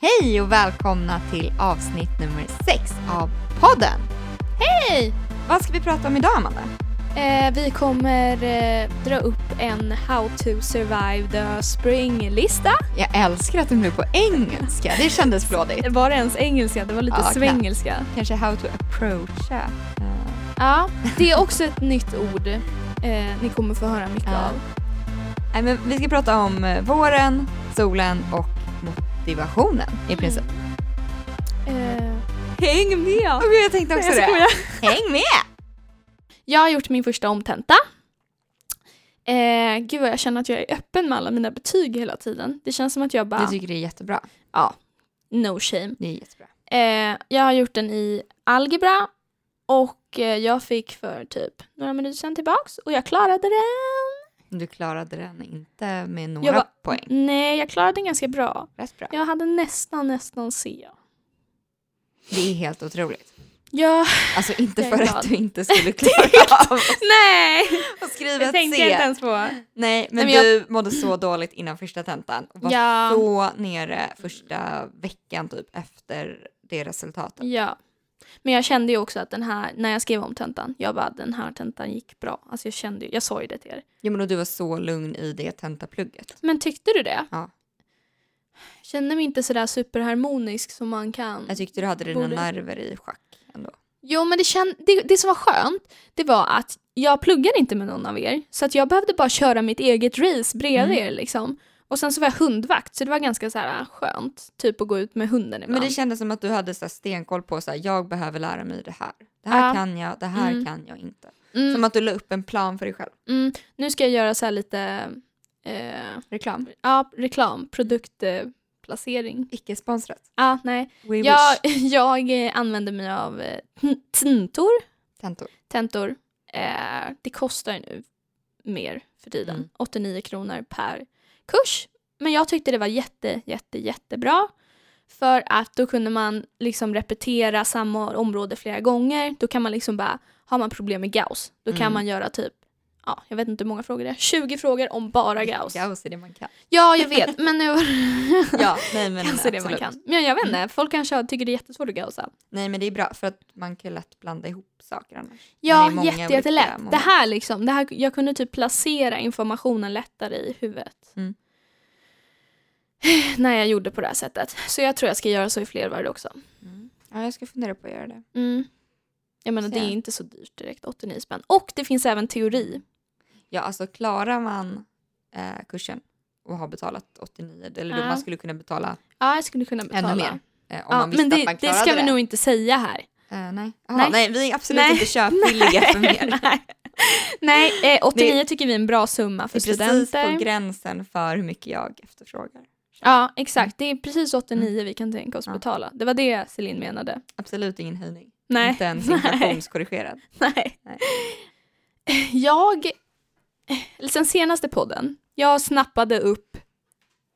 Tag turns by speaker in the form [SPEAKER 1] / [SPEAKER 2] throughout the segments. [SPEAKER 1] Hej och välkomna till avsnitt nummer 6 av podden.
[SPEAKER 2] Hej!
[SPEAKER 1] Vad ska vi prata om idag Amanda?
[SPEAKER 2] Eh, vi kommer eh, dra upp en How to survive the spring-lista.
[SPEAKER 1] Jag älskar att den blev på engelska. Det kändes flådigt.
[SPEAKER 2] Var det ens engelska? Det var lite
[SPEAKER 1] Ja, knappt.
[SPEAKER 2] svengelska.
[SPEAKER 1] Kanske how to approacha. eh,
[SPEAKER 2] Ja, det är också ett nytt ord eh, ni kommer få höra mycket
[SPEAKER 1] Ja.
[SPEAKER 2] av.
[SPEAKER 1] Nej, men vi ska prata om eh, våren, solen och motivationen i princip.
[SPEAKER 2] Eh, häng med!
[SPEAKER 1] Och jag tänkte också
[SPEAKER 2] Nej, jag
[SPEAKER 1] det.
[SPEAKER 2] skojar.
[SPEAKER 1] Häng med!
[SPEAKER 2] Jag har gjort min första omtenta. Eh, gud vad jag känner att jag är öppen med alla mina betyg hela tiden. Det känns som att jag bara,
[SPEAKER 1] Jag tycker det är jättebra.
[SPEAKER 2] ja, no shame.
[SPEAKER 1] Det är jättebra.
[SPEAKER 2] Eh, jag har gjort den i algebra och eh, jag fick för typ några minuter sedan tillbaks och jag klarade den.
[SPEAKER 1] Du klarade den inte med några
[SPEAKER 2] Jag var-
[SPEAKER 1] poäng.
[SPEAKER 2] Nej, jag klarade den ganska bra.
[SPEAKER 1] Rätt bra.
[SPEAKER 2] Jag hade nästan, nästan C.
[SPEAKER 1] Det är helt otroligt.
[SPEAKER 2] Ja,
[SPEAKER 1] Alltså inte
[SPEAKER 2] Jag är
[SPEAKER 1] för
[SPEAKER 2] glad.
[SPEAKER 1] att du inte skulle klara av
[SPEAKER 2] nej!
[SPEAKER 1] att skriva
[SPEAKER 2] Det
[SPEAKER 1] Typ ett
[SPEAKER 2] tänkte jag inte
[SPEAKER 1] C.
[SPEAKER 2] ens på.
[SPEAKER 1] Nej, men,
[SPEAKER 2] Nej, men jag-
[SPEAKER 1] du mådde så dåligt innan första tentan och var
[SPEAKER 2] Ja.
[SPEAKER 1] så nere första veckan typ efter det resultatet.
[SPEAKER 2] Ja. Men jag kände ju också att den här, när jag skrev om tentan, jag bara den här tentan gick bra. Alltså jag kände ju, jag sa ju det till er.
[SPEAKER 1] Ja, men och du var så lugn i det tentaplugget.
[SPEAKER 2] Men tyckte du det?
[SPEAKER 1] Ja.
[SPEAKER 2] Jag Kände mig inte sådär superharmonisk som man kan.
[SPEAKER 1] Jag tyckte du hade dina
[SPEAKER 2] Borde-
[SPEAKER 1] nerver i schack ändå.
[SPEAKER 2] Jo, men det, känd, det, det som var skönt, det var att jag pluggade inte med någon av er. Så att jag behövde bara köra mitt eget race bredvid
[SPEAKER 1] Mm.
[SPEAKER 2] er liksom. Och sen så var jag hundvakt, så det var ganska så här äh, skönt. Typ att gå ut med hunden ibland.
[SPEAKER 1] Men det kändes som att du hade så här stenkoll på så här, jag behöver lära mig det här. Det här
[SPEAKER 2] Ja.
[SPEAKER 1] kan jag, det här
[SPEAKER 2] Mm.
[SPEAKER 1] kan jag inte. Som
[SPEAKER 2] mm,
[SPEAKER 1] att du la upp en plan för dig själv.
[SPEAKER 2] mm, nu ska jag göra så här lite eh,
[SPEAKER 1] Reklam.
[SPEAKER 2] ja, reklam, produktplacering.
[SPEAKER 1] Icke sponsrat.
[SPEAKER 2] Ja, nej.
[SPEAKER 1] We
[SPEAKER 2] Jag,
[SPEAKER 1] wish.
[SPEAKER 2] jag eh, använder mig av eh, tn- tintor.
[SPEAKER 1] Tentor.
[SPEAKER 2] tentor. Eh, det kostar ju nu mer för tiden.
[SPEAKER 1] Mm.
[SPEAKER 2] 89 kronor per kurs. Men jag tyckte det var jätte, jätte, jättebra. För att då kunde man liksom repetera samma område flera gånger. Då kan man liksom bara, har man problem med Gauss, då kan
[SPEAKER 1] Mm.
[SPEAKER 2] man göra typ, ja, jag vet inte hur många frågor det är, 20 frågor om bara Gauss.
[SPEAKER 1] Gauss är det man kan.
[SPEAKER 2] Ja, jag vet, men nu var
[SPEAKER 1] Ja, nej men
[SPEAKER 2] Gauss är det man
[SPEAKER 1] absolut. Mm.
[SPEAKER 2] kan. Men jag vet inte, folk kanske tycker det är jättesvårt att gaussa.
[SPEAKER 1] Nej men det är bra för att man kan lätt blanda ihop saker annars. Men det är
[SPEAKER 2] Ja,
[SPEAKER 1] många
[SPEAKER 2] jätte, jättelätt.
[SPEAKER 1] olika moment.
[SPEAKER 2] Det här liksom, det här, jag kunde typ placera informationen lättare i huvudet.
[SPEAKER 1] Mm.
[SPEAKER 2] När jag gjorde på det här sättet. Så jag tror jag ska göra så i fler varv också.
[SPEAKER 1] Ja, jag ska fundera på att göra det.
[SPEAKER 2] Mm. Jag menar
[SPEAKER 1] Så
[SPEAKER 2] det
[SPEAKER 1] ja.
[SPEAKER 2] är inte så dyrt direkt, 89 spänn. Och det finns även teori.
[SPEAKER 1] Ja, alltså klarar man eh, kursen och har betalat 89, eller då
[SPEAKER 2] Ja.
[SPEAKER 1] man skulle kunna betala
[SPEAKER 2] Ja, jag skulle kunna betala.
[SPEAKER 1] ännu mer. Eh, om
[SPEAKER 2] Ja,
[SPEAKER 1] man visste
[SPEAKER 2] men
[SPEAKER 1] att
[SPEAKER 2] det,
[SPEAKER 1] man
[SPEAKER 2] det
[SPEAKER 1] klarade
[SPEAKER 2] ska vi
[SPEAKER 1] det.
[SPEAKER 2] nog inte säga här.
[SPEAKER 1] Eh, nej. Jaha, nej.
[SPEAKER 2] Nej.
[SPEAKER 1] vi är absolut
[SPEAKER 2] Nej.
[SPEAKER 1] inte köpvilliga för mer.
[SPEAKER 2] Nej, Nej eh, 89 tycker vi är en bra summa
[SPEAKER 1] Det
[SPEAKER 2] för
[SPEAKER 1] är precis
[SPEAKER 2] studenter.
[SPEAKER 1] på gränsen för hur mycket jag efterfrågar.
[SPEAKER 2] ja, exakt. Det är precis 89 vi kan tänka oss
[SPEAKER 1] Mm. Ja.
[SPEAKER 2] betala. Det var det Celine menade.
[SPEAKER 1] Absolut ingen höjning.
[SPEAKER 2] Nej.
[SPEAKER 1] Inte ens
[SPEAKER 2] Nej.
[SPEAKER 1] inflationskorrigerad.
[SPEAKER 2] Nej.
[SPEAKER 1] Nej.
[SPEAKER 2] Jag, sen senaste podden, jag snappade upp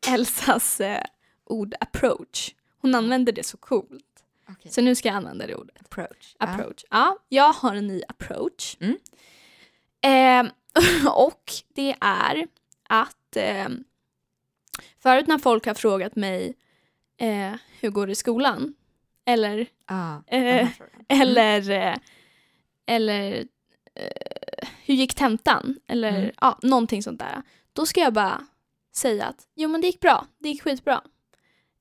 [SPEAKER 2] Elsas eh, ord approach. Hon använder det så coolt.
[SPEAKER 1] Okay.
[SPEAKER 2] Så nu ska jag använda det ordet.
[SPEAKER 1] Approach. Ja.
[SPEAKER 2] Approach. Ja, jag har en ny approach.
[SPEAKER 1] Mm.
[SPEAKER 2] Eh, och det är att eh, förut när folk har frågat mig eh, hur går det i skolan? Eller
[SPEAKER 1] Ah,
[SPEAKER 2] Eh,
[SPEAKER 1] den här frågan.
[SPEAKER 2] eller, eh, eller eh, hur gick tentan? Eller
[SPEAKER 1] Mm.
[SPEAKER 2] ja, någonting sånt där. Då ska jag bara säga att jo men det gick bra, det gick skitbra.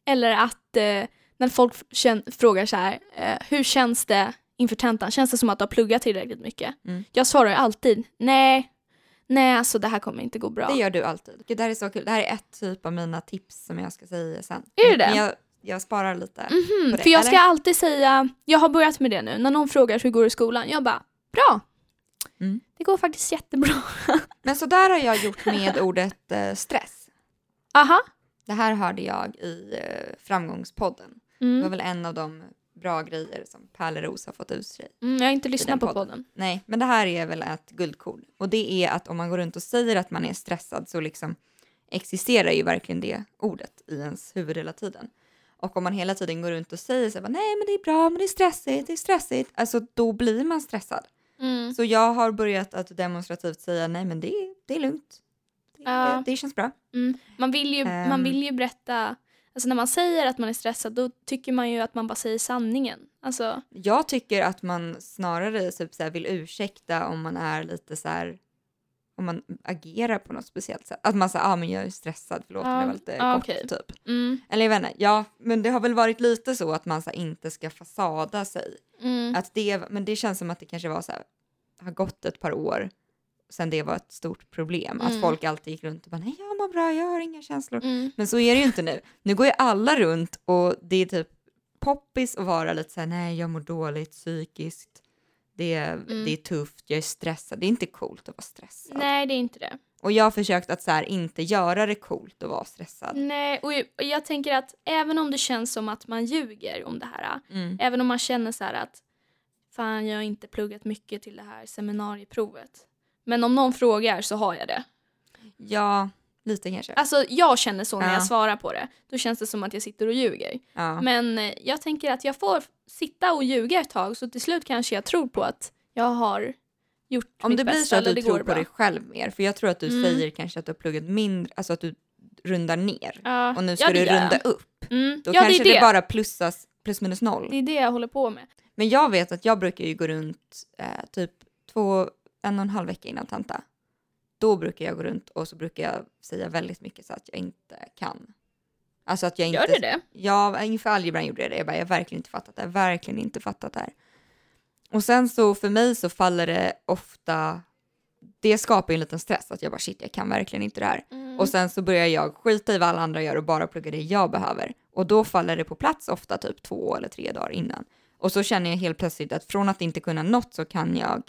[SPEAKER 2] Eller att eh, när folk kän- frågar så här, eh, hur känns det inför tentan? Känns det som att du har pluggat tillräckligt mycket?
[SPEAKER 1] Mm.
[SPEAKER 2] Jag svarar ju alltid nej, nej alltså det här kommer inte gå bra.
[SPEAKER 1] Det gör du alltid. Det här är så kul. Det här är ett typ av mina tips som jag ska säga sen.
[SPEAKER 2] Är det det?
[SPEAKER 1] Men jag, jag sparar lite.
[SPEAKER 2] Mhm,
[SPEAKER 1] på det,
[SPEAKER 2] för jag ska
[SPEAKER 1] eller?
[SPEAKER 2] alltid säga, jag har börjat med det nu, när någon frågar hur går det i skolan? Jag bara, bra.
[SPEAKER 1] Mm.
[SPEAKER 2] Det går faktiskt jättebra.
[SPEAKER 1] Men så där har jag gjort med ordet eh, stress.
[SPEAKER 2] Aha.
[SPEAKER 1] Det här hörde jag i eh, Framgångspodden. Det
[SPEAKER 2] Mm.
[SPEAKER 1] var väl en av de bra grejer som Pärleros har fått ur sig.
[SPEAKER 2] Mm, jag har inte
[SPEAKER 1] den
[SPEAKER 2] lyssnat på
[SPEAKER 1] podden.
[SPEAKER 2] podden.
[SPEAKER 1] Nej, men det här är väl ett guldkorn. Och det är att om man går runt och säger att man är stressad så liksom existerar ju verkligen det ordet i ens huvud hela tiden. Och om man hela tiden går runt och säger så här, nej men det är bra, men det är stressigt, det är stressigt, alltså då blir man stressad.
[SPEAKER 2] Mm.
[SPEAKER 1] Så jag har börjat att demonstrativt säga, nej men det är, det är lugnt. Det,
[SPEAKER 2] Ja.
[SPEAKER 1] det känns bra.
[SPEAKER 2] Man, vill ju,
[SPEAKER 1] Ehm.
[SPEAKER 2] man vill ju berätta Alltså när man säger att man är stressad då tycker man ju att man bara säger sanningen. Alltså,
[SPEAKER 1] Jag tycker att man snarare typ så här vill ursäkta om man är lite så här om man agerar på något speciellt sätt. Att man säger ah, men jag är stressad, förlåt men
[SPEAKER 2] Ja,
[SPEAKER 1] jag var lite
[SPEAKER 2] ja,
[SPEAKER 1] kort
[SPEAKER 2] okej.
[SPEAKER 1] typ.
[SPEAKER 2] mm,
[SPEAKER 1] Eller jag vet inte, ja men det har väl varit lite så att man så här, inte ska fasada sig.
[SPEAKER 2] mm,
[SPEAKER 1] Att det, men det känns som att det kanske var så här, har gått ett par år sen det var ett stort problem. Att
[SPEAKER 2] Mm.
[SPEAKER 1] folk alltid gick runt och bara nej jag mår bra, jag har inga känslor.
[SPEAKER 2] mm,
[SPEAKER 1] Men så är det ju inte nu. Nu går ju alla runt och det är typ poppis att vara lite såhär, nej jag mår dåligt psykiskt, det är,
[SPEAKER 2] Mm.
[SPEAKER 1] det är tufft, jag är stressad. Det är inte coolt att vara stressad.
[SPEAKER 2] nej det är inte det.
[SPEAKER 1] Och jag har försökt att så här, inte göra det coolt att vara stressad.
[SPEAKER 2] Nej, och jag- och jag tänker att även om det känns som att man ljuger om det här,
[SPEAKER 1] Mm.
[SPEAKER 2] även om man känner så här att fan jag har inte pluggat mycket till det här seminarieprovet. Men om någon frågar så har jag det.
[SPEAKER 1] Ja, lite kanske.
[SPEAKER 2] Alltså jag känner så när
[SPEAKER 1] Ja.
[SPEAKER 2] jag svarar på det. Då känns det som att jag sitter och ljuger.
[SPEAKER 1] Ja.
[SPEAKER 2] Men eh, jag tänker att jag får sitta och ljuga ett tag så till slut kanske jag tror på att jag har gjort
[SPEAKER 1] Om
[SPEAKER 2] mitt
[SPEAKER 1] det blir så
[SPEAKER 2] bästa
[SPEAKER 1] att
[SPEAKER 2] eller
[SPEAKER 1] du
[SPEAKER 2] det
[SPEAKER 1] tror
[SPEAKER 2] går
[SPEAKER 1] på
[SPEAKER 2] bra.
[SPEAKER 1] dig själv mer, för jag tror att du
[SPEAKER 2] Mm.
[SPEAKER 1] säger kanske att du har pluggat mindre, alltså att du rundar ner.
[SPEAKER 2] Ja,
[SPEAKER 1] Och nu
[SPEAKER 2] ja,
[SPEAKER 1] ska
[SPEAKER 2] det
[SPEAKER 1] du
[SPEAKER 2] gör jag.
[SPEAKER 1] runda upp.
[SPEAKER 2] Mm.
[SPEAKER 1] Då
[SPEAKER 2] ja,
[SPEAKER 1] kanske
[SPEAKER 2] det,
[SPEAKER 1] det.
[SPEAKER 2] är det.
[SPEAKER 1] bara plussas, plus minus noll.
[SPEAKER 2] det är det jag håller på med.
[SPEAKER 1] Men jag vet att jag brukar ju gå runt eh, typ två, en och en halv vecka innan tenta. Då brukar jag gå runt och så brukar jag säga väldigt mycket så att jag inte kan. Alltså att jag inte...
[SPEAKER 2] Gör du det?
[SPEAKER 1] Ja, inför algebran gjorde jag det. Jag bara, jag har verkligen inte fattat det här, verkligen inte fattat det här. Och sen så för mig så faller det ofta, det skapar ju en liten stress att jag bara shit, jag kan verkligen inte det här.
[SPEAKER 2] Mm.
[SPEAKER 1] Och sen så börjar jag skita i vad alla andra gör och bara plugga det jag behöver. Och då faller det på plats ofta typ två eller tre dagar innan. Och så känner jag helt plötsligt att från att inte kunna något så kan jag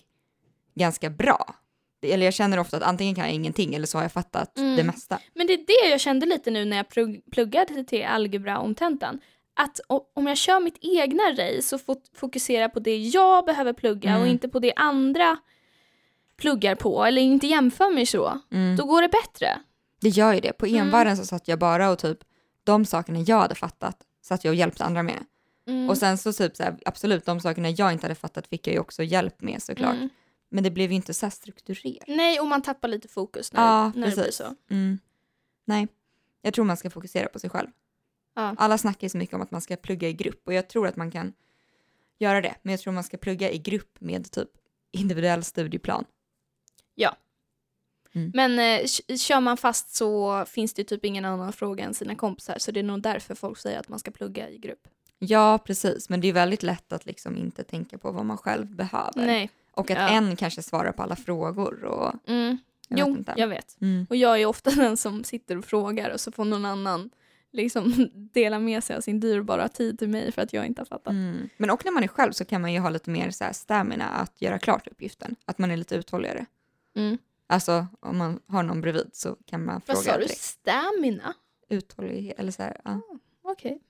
[SPEAKER 1] ganska bra. Det- Eller jag känner ofta att antingen kan jag ingenting eller så har jag fattat
[SPEAKER 2] Mm.
[SPEAKER 1] det mesta.
[SPEAKER 2] Men det är det jag kände lite nu när jag plugg- pluggade till algebra om tentan. Att o- om jag kör mitt egna race och fot- fokuserar på det jag behöver plugga
[SPEAKER 1] Mm.
[SPEAKER 2] och inte på det andra pluggar på eller inte jämför mig så,
[SPEAKER 1] Mm.
[SPEAKER 2] då går det bättre.
[SPEAKER 1] Det gör ju det. På
[SPEAKER 2] Mm.
[SPEAKER 1] envaren så satt jag bara och typ de sakerna jag hade fattat satt jag och hjälpte andra med.
[SPEAKER 2] Mm.
[SPEAKER 1] Och sen så typ så här, absolut de sakerna jag inte hade fattat fick jag ju också hjälp med såklart.
[SPEAKER 2] Mm.
[SPEAKER 1] Men det blev ju inte så här strukturerat.
[SPEAKER 2] Nej, och man tappar lite fokus när,
[SPEAKER 1] Ja,
[SPEAKER 2] när det blir
[SPEAKER 1] precis.
[SPEAKER 2] så.
[SPEAKER 1] Mm. Nej, jag tror man ska fokusera på sig själv.
[SPEAKER 2] Ja.
[SPEAKER 1] Alla snackar ju så mycket om att man ska plugga i grupp och jag tror att man kan göra det. Men jag tror man ska plugga i grupp med typ individuell studieplan.
[SPEAKER 2] Men eh, k- kör man fast så finns det typ ingen annan fråga än sina kompisar så det är nog därför folk säger att man ska plugga i grupp.
[SPEAKER 1] Ja, precis. Men det är väldigt lätt att liksom inte tänka på vad man själv behöver.
[SPEAKER 2] Nej.
[SPEAKER 1] Och att
[SPEAKER 2] Ja.
[SPEAKER 1] en kanske svarar på alla frågor. Och...
[SPEAKER 2] Mm.
[SPEAKER 1] Jag
[SPEAKER 2] jo,
[SPEAKER 1] vet inte.
[SPEAKER 2] jag vet.
[SPEAKER 1] Mm.
[SPEAKER 2] Och jag är ofta den som sitter och frågar och så får någon annan liksom dela med sig av sin dyrbara tid till mig för att jag inte har fattat.
[SPEAKER 1] Mm. Men och när man är själv så kan man ju ha lite mer så här stamina att göra klart uppgiften. Att man är lite uthålligare.
[SPEAKER 2] Mm.
[SPEAKER 1] Alltså om man har någon bredvid så kan man
[SPEAKER 2] Vad
[SPEAKER 1] fråga
[SPEAKER 2] sa du?
[SPEAKER 1] direkt.
[SPEAKER 2] Stamina?
[SPEAKER 1] Uthållighet, eller så här, ja.
[SPEAKER 2] Okej.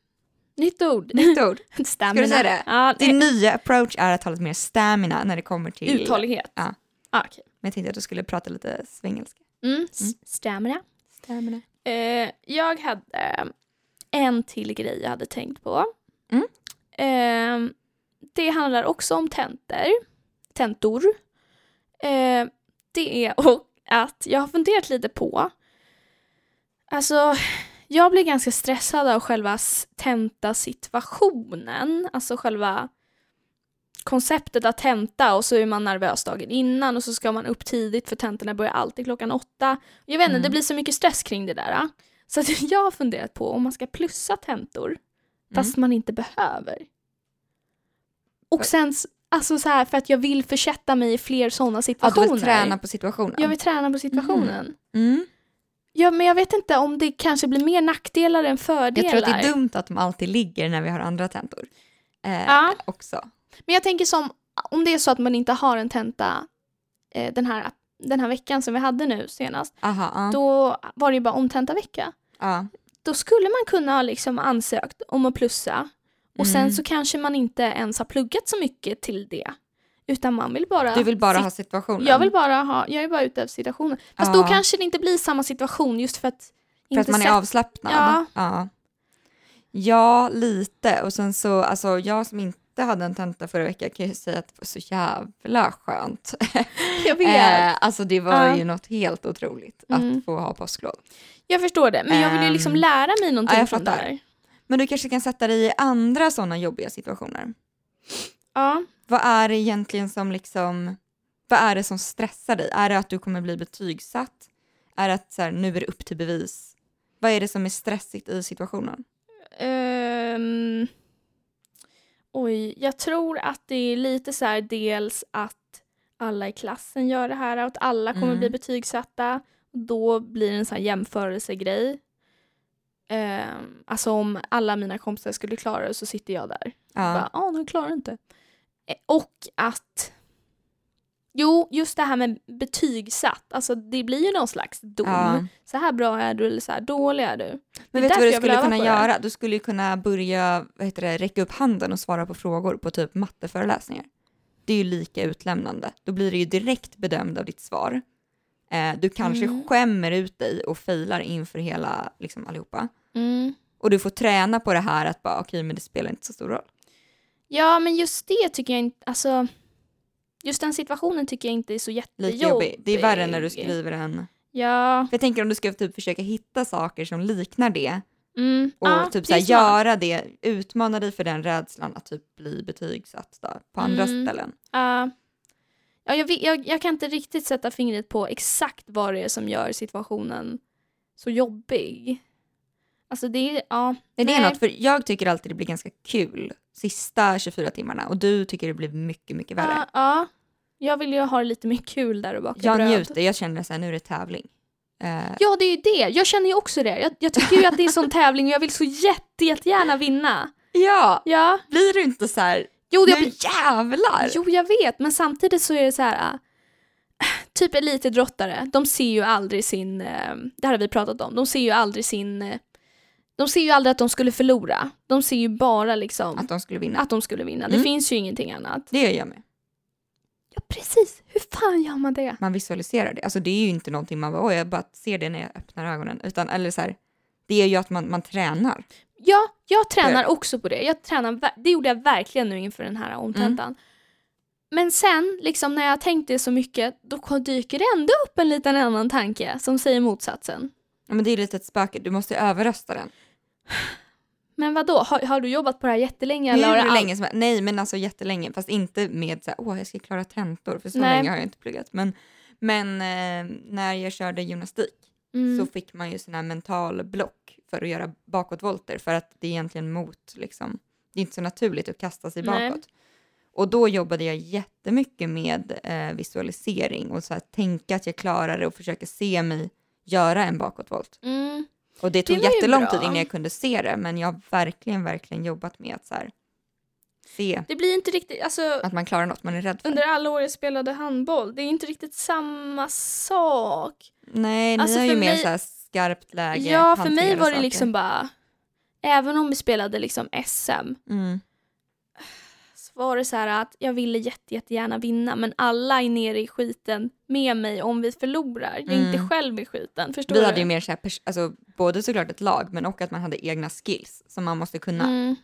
[SPEAKER 2] Nytt ord.
[SPEAKER 1] Nytt ord.
[SPEAKER 2] Stamina.
[SPEAKER 1] säga det?
[SPEAKER 2] Ja, det
[SPEAKER 1] Din nya approach är att ha lite mer stamina när det kommer till...
[SPEAKER 2] uthållighet.
[SPEAKER 1] Ja.
[SPEAKER 2] Ah, okej.
[SPEAKER 1] Men jag tänkte att du skulle prata lite svengelska.
[SPEAKER 2] mm. s- Stamina.
[SPEAKER 1] Stamina.
[SPEAKER 2] Eh, jag hade en till grej jag hade tänkt på.
[SPEAKER 1] Mm.
[SPEAKER 2] Eh, det handlar också om tentor. Tentor. Eh, det är och att jag har funderat lite på. Alltså, jag blir ganska stressad av själva s- tentasituationen. Alltså själva konceptet att tenta och så är man nervös dagen innan och så ska man upp tidigt för tentorna börjar alltid klockan åtta. Jag vet inte,
[SPEAKER 1] Mm.
[SPEAKER 2] det blir så mycket stress kring det där. ah. Så att jag har funderat på om man ska plussa tentor
[SPEAKER 1] Mm.
[SPEAKER 2] fast man inte behöver. Och sen, s- alltså så här, för att jag vill försätta mig i fler sådana
[SPEAKER 1] Att du
[SPEAKER 2] situationer.
[SPEAKER 1] vill träna på situationen.
[SPEAKER 2] Jag vill träna på situationen.
[SPEAKER 1] Mm.
[SPEAKER 2] Ja, men jag vet inte om det kanske blir mer nackdelar än
[SPEAKER 1] Jag
[SPEAKER 2] fördelar.
[SPEAKER 1] tror att det är dumt att de alltid ligger när vi har andra tentor. Eh,
[SPEAKER 2] Ja.
[SPEAKER 1] Också.
[SPEAKER 2] Men jag tänker som, om det är så att man inte har en tenta eh, den, här, den här veckan som vi hade nu senast,
[SPEAKER 1] Aha, ja.
[SPEAKER 2] då var det ju bara omtentavecka.
[SPEAKER 1] ja.
[SPEAKER 2] Då skulle man kunna ha liksom ansökt om att plussa och
[SPEAKER 1] Mm.
[SPEAKER 2] sen så kanske man inte ens har pluggat så mycket till det. Utan man vill bara...
[SPEAKER 1] Du vill bara
[SPEAKER 2] sitta-
[SPEAKER 1] ha situationen.
[SPEAKER 2] Jag vill bara ha, jag är bara ute efter situationen. Fast
[SPEAKER 1] Ja.
[SPEAKER 2] då kanske det inte blir samma situation just för att
[SPEAKER 1] För att man är
[SPEAKER 2] sätta-
[SPEAKER 1] avslappnad.
[SPEAKER 2] Ja.
[SPEAKER 1] ja. Ja, lite. Och sen så, alltså jag som inte hade en tenta förra veckan kan ju säga att det var så jävla skönt.
[SPEAKER 2] Jag vet.
[SPEAKER 1] Eh, alltså det var
[SPEAKER 2] Ja.
[SPEAKER 1] ju något helt otroligt
[SPEAKER 2] Mm.
[SPEAKER 1] att få ha påsklov.
[SPEAKER 2] Jag förstår det, men jag vill ju liksom
[SPEAKER 1] Ehm,
[SPEAKER 2] lära mig någonting
[SPEAKER 1] ja, jag
[SPEAKER 2] från det
[SPEAKER 1] fattar.
[SPEAKER 2] här.
[SPEAKER 1] Men du kanske kan sätta dig i andra sådana jobbiga situationer.
[SPEAKER 2] Ja.
[SPEAKER 1] Vad är det egentligen som liksom, vad är det som stressar dig? Är det att du kommer bli betygsatt? Är det att så här, nu är det upp till bevis? Vad är det som är stressigt i situationen?
[SPEAKER 2] Ehm, oj, jag tror att det är lite så här dels att alla i klassen gör det här och att alla kommer
[SPEAKER 1] Mm.
[SPEAKER 2] bli betygsatta. Då blir det en sån här jämförelsegrej. Ehm, alltså om alla mina kompisar skulle klara det så sitter jag där.
[SPEAKER 1] Ja.
[SPEAKER 2] Bara, ah, de klarar inte. Eh, Och att Jo, just det här med betygsatt, alltså det blir ju någon slags dom.
[SPEAKER 1] ja.
[SPEAKER 2] Så här bra är du eller så här dålig är du.
[SPEAKER 1] Men
[SPEAKER 2] Det är
[SPEAKER 1] vet du vad
[SPEAKER 2] därför
[SPEAKER 1] du
[SPEAKER 2] jag vill
[SPEAKER 1] skulle
[SPEAKER 2] öva
[SPEAKER 1] kunna
[SPEAKER 2] på det här.
[SPEAKER 1] göra? Du skulle ju kunna börja vad heter det, räcka upp handen och svara på frågor på typ matteföreläsningar. Det är ju lika utlämnande. Då blir du ju direkt bedömd av ditt svar. Eh, du kanske
[SPEAKER 2] Mm.
[SPEAKER 1] skämmer ut dig och failar inför hela, liksom allihopa.
[SPEAKER 2] Mm.
[SPEAKER 1] Och du får träna på det här att bara okej, men det spelar inte så stor roll.
[SPEAKER 2] Ja, men just det tycker jag inte, alltså just den situationen tycker jag inte är så jättejobbig.
[SPEAKER 1] Lika jobbig. Det är värre när du skriver en...
[SPEAKER 2] Ja,
[SPEAKER 1] För jag tänker om du ska typ försöka hitta saker som liknar det
[SPEAKER 2] mm.
[SPEAKER 1] och
[SPEAKER 2] ja,
[SPEAKER 1] typ
[SPEAKER 2] det
[SPEAKER 1] såhär,
[SPEAKER 2] är smart.
[SPEAKER 1] göra det, utmana dig för den rädslan att typ bli betygsatt då, på andra
[SPEAKER 2] Mm.
[SPEAKER 1] ställen.
[SPEAKER 2] Ja. ja, jag, vet- jag, jag kan inte riktigt sätta fingret på exakt vad det är som gör situationen så jobbig. Alltså det är, ja.
[SPEAKER 1] Nej, det är
[SPEAKER 2] Nej.
[SPEAKER 1] något, för jag tycker alltid det blir ganska kul sista 24 timmarna och du tycker det blir mycket, mycket värre.
[SPEAKER 2] Ja, ja. Jag vill ju ha lite mer kul där och baka
[SPEAKER 1] jag
[SPEAKER 2] bröd.
[SPEAKER 1] njuter, jag känner såhär, nu är det tävling. Eh,
[SPEAKER 2] Ja, det är ju det. Jag känner ju också det. Jag, jag tycker ju att det är sån tävling och jag vill så jätte, jättegärna vinna.
[SPEAKER 1] ja,
[SPEAKER 2] Ja.
[SPEAKER 1] blir du inte såhär,
[SPEAKER 2] Jo, jag
[SPEAKER 1] nu jävlar!
[SPEAKER 2] Jo, jag vet, men samtidigt så är det så här... äh, Typ elitidrottare, de ser ju aldrig sin... äh, Det här har vi pratat om. De ser ju aldrig sin... äh, De ser ju aldrig att de skulle förlora. De ser ju bara liksom
[SPEAKER 1] Att
[SPEAKER 2] att,
[SPEAKER 1] de skulle vinna.
[SPEAKER 2] de skulle vinna. Det
[SPEAKER 1] Mm.
[SPEAKER 2] finns ju ingenting annat.
[SPEAKER 1] Det gör jag med.
[SPEAKER 2] Ja, precis. Hur fan gör man det?
[SPEAKER 1] man visualiserar det. Alltså det är ju inte någonting man bara, "Oj, jag bara ser det när jag öppnar ögonen. Utan, eller så här, det är ju att man, man tränar.
[SPEAKER 2] Ja, jag tränar
[SPEAKER 1] Det-
[SPEAKER 2] också på det. Jag tränar, ver- det gjorde jag verkligen nu inför den här omtentan.
[SPEAKER 1] Mm.
[SPEAKER 2] Men sen, liksom när jag har tänkt det så mycket, då kom- dyker det ändå upp en liten annan tanke som säger motsatsen.
[SPEAKER 1] Ja, Men det är lite ett spöke, du måste överrösta den.
[SPEAKER 2] Men vad då? Har, har du jobbat på det här jättelänge? eller har det
[SPEAKER 1] Hur
[SPEAKER 2] all-
[SPEAKER 1] länge som helst. Nej men alltså jättelänge, fast inte med så här, åh jag ska klara tentor, för så
[SPEAKER 2] Nej.
[SPEAKER 1] länge har jag inte pluggat. Men, men eh, när jag körde gymnastik
[SPEAKER 2] Mm.
[SPEAKER 1] så fick man ju sån här mental block för att göra bakåtvolter för att det är egentligen mot liksom, det är inte så naturligt att kasta sig
[SPEAKER 2] Nej.
[SPEAKER 1] bakåt. Och då jobbade jag jättemycket med eh, visualisering och så här, tänka att jag klarar det och försöka se mig göra en bakåtvolt.
[SPEAKER 2] Mm.
[SPEAKER 1] Och det tog
[SPEAKER 2] var ju
[SPEAKER 1] jättelång
[SPEAKER 2] bra.
[SPEAKER 1] tid innan jag kunde se det men jag har verkligen, verkligen jobbat med att så här, se
[SPEAKER 2] Det blir inte riktigt, alltså
[SPEAKER 1] att man klarar något man är rädd för.
[SPEAKER 2] under alla år jag spelade handboll, det är inte riktigt samma sak.
[SPEAKER 1] Nej, ni
[SPEAKER 2] Alltså,
[SPEAKER 1] har ju
[SPEAKER 2] för
[SPEAKER 1] mer
[SPEAKER 2] mig-
[SPEAKER 1] så här skarpt läge.
[SPEAKER 2] ja, för mig
[SPEAKER 1] hantera
[SPEAKER 2] var det
[SPEAKER 1] saker.
[SPEAKER 2] liksom bara, även om vi spelade liksom SM,
[SPEAKER 1] Mm.
[SPEAKER 2] så var det så här att jag ville jätte, jättegärna vinna, men alla är nere i skiten med mig om vi förlorar. Jag är
[SPEAKER 1] Mm.
[SPEAKER 2] inte själv i skiten, förstår
[SPEAKER 1] Vi
[SPEAKER 2] du?
[SPEAKER 1] hade ju mer så här, pers- alltså, både såklart ett lag men också att man hade egna skills som man måste kunna
[SPEAKER 2] mm.